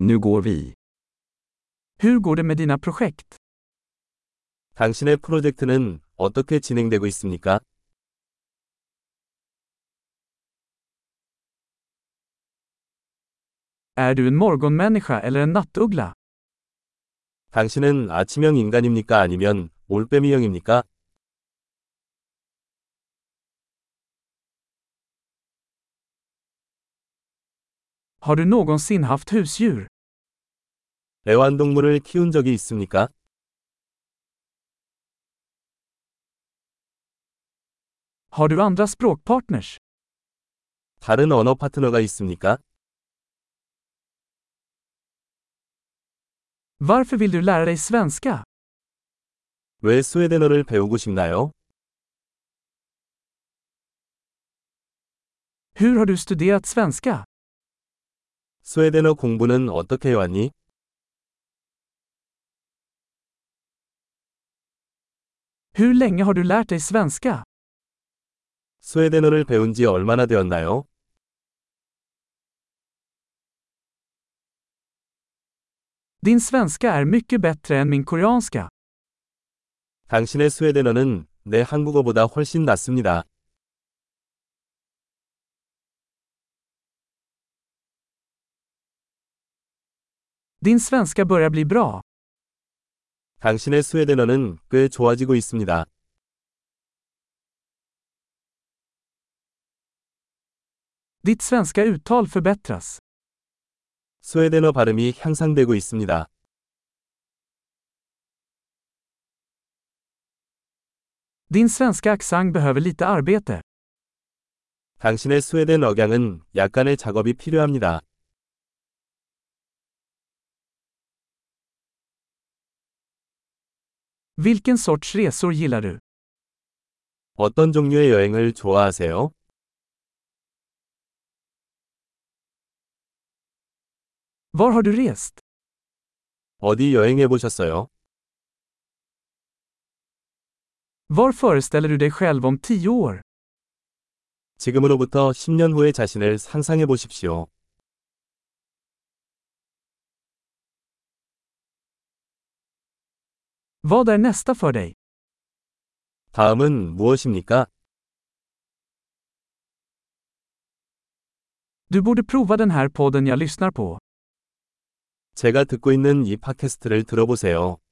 Nu går vi. Hur går det med dina projekt? 당신의 프로젝트는 어떻게 진행되고 있습니까? Är du en morgonmänniska eller en nattuggla? 당신은 아침형 인간입니까? 아니면 올빼미형입니까? Har du någonsin haft husdjur? 애완동물을 키운 적이 있습니까? Har du andra språkpartners? 다른 언어 파트너가 있습니까? Varför vill du lära dig svenska? 왜 스웨덴어를 배우고 싶나요? Hur har du studerat svenska? 스웨덴어 공부는 어떻게 해왔니? Hur länge har du lärt dig svenska? 스웨덴어를 배운 지 얼마나 되었나요? Din svenska är mycket bättre än min koreanska. 당신의 스웨덴어는 내 한국어보다 훨씬 낫습니다. Din svenska börjar bli bra. 당신의 스웨덴어는 꽤 좋아지고 있습니다. Ditt svenska uttal förbättras. 스웨덴어 발음이 향상되고 있습니다. Din svenska accent behöver lite arbete. 당신의 스웨덴 억양은 약간의 작업이 필요합니다. Vilken sorts resor gillar du? 어떤 종류의 여행을 좋아하세요? Var har du rest? 어디 여행해 보셨어요? Var föreställer du dig själv om tio år? 지금으로부터 10년 후의 자신을 상상해 보십시오. Vad är nästa för dig? 다음은 무엇입니까? Du borde prova den här podden jag lyssnar på. 제가 듣고 있는 이 팟캐스트를 들어보세요.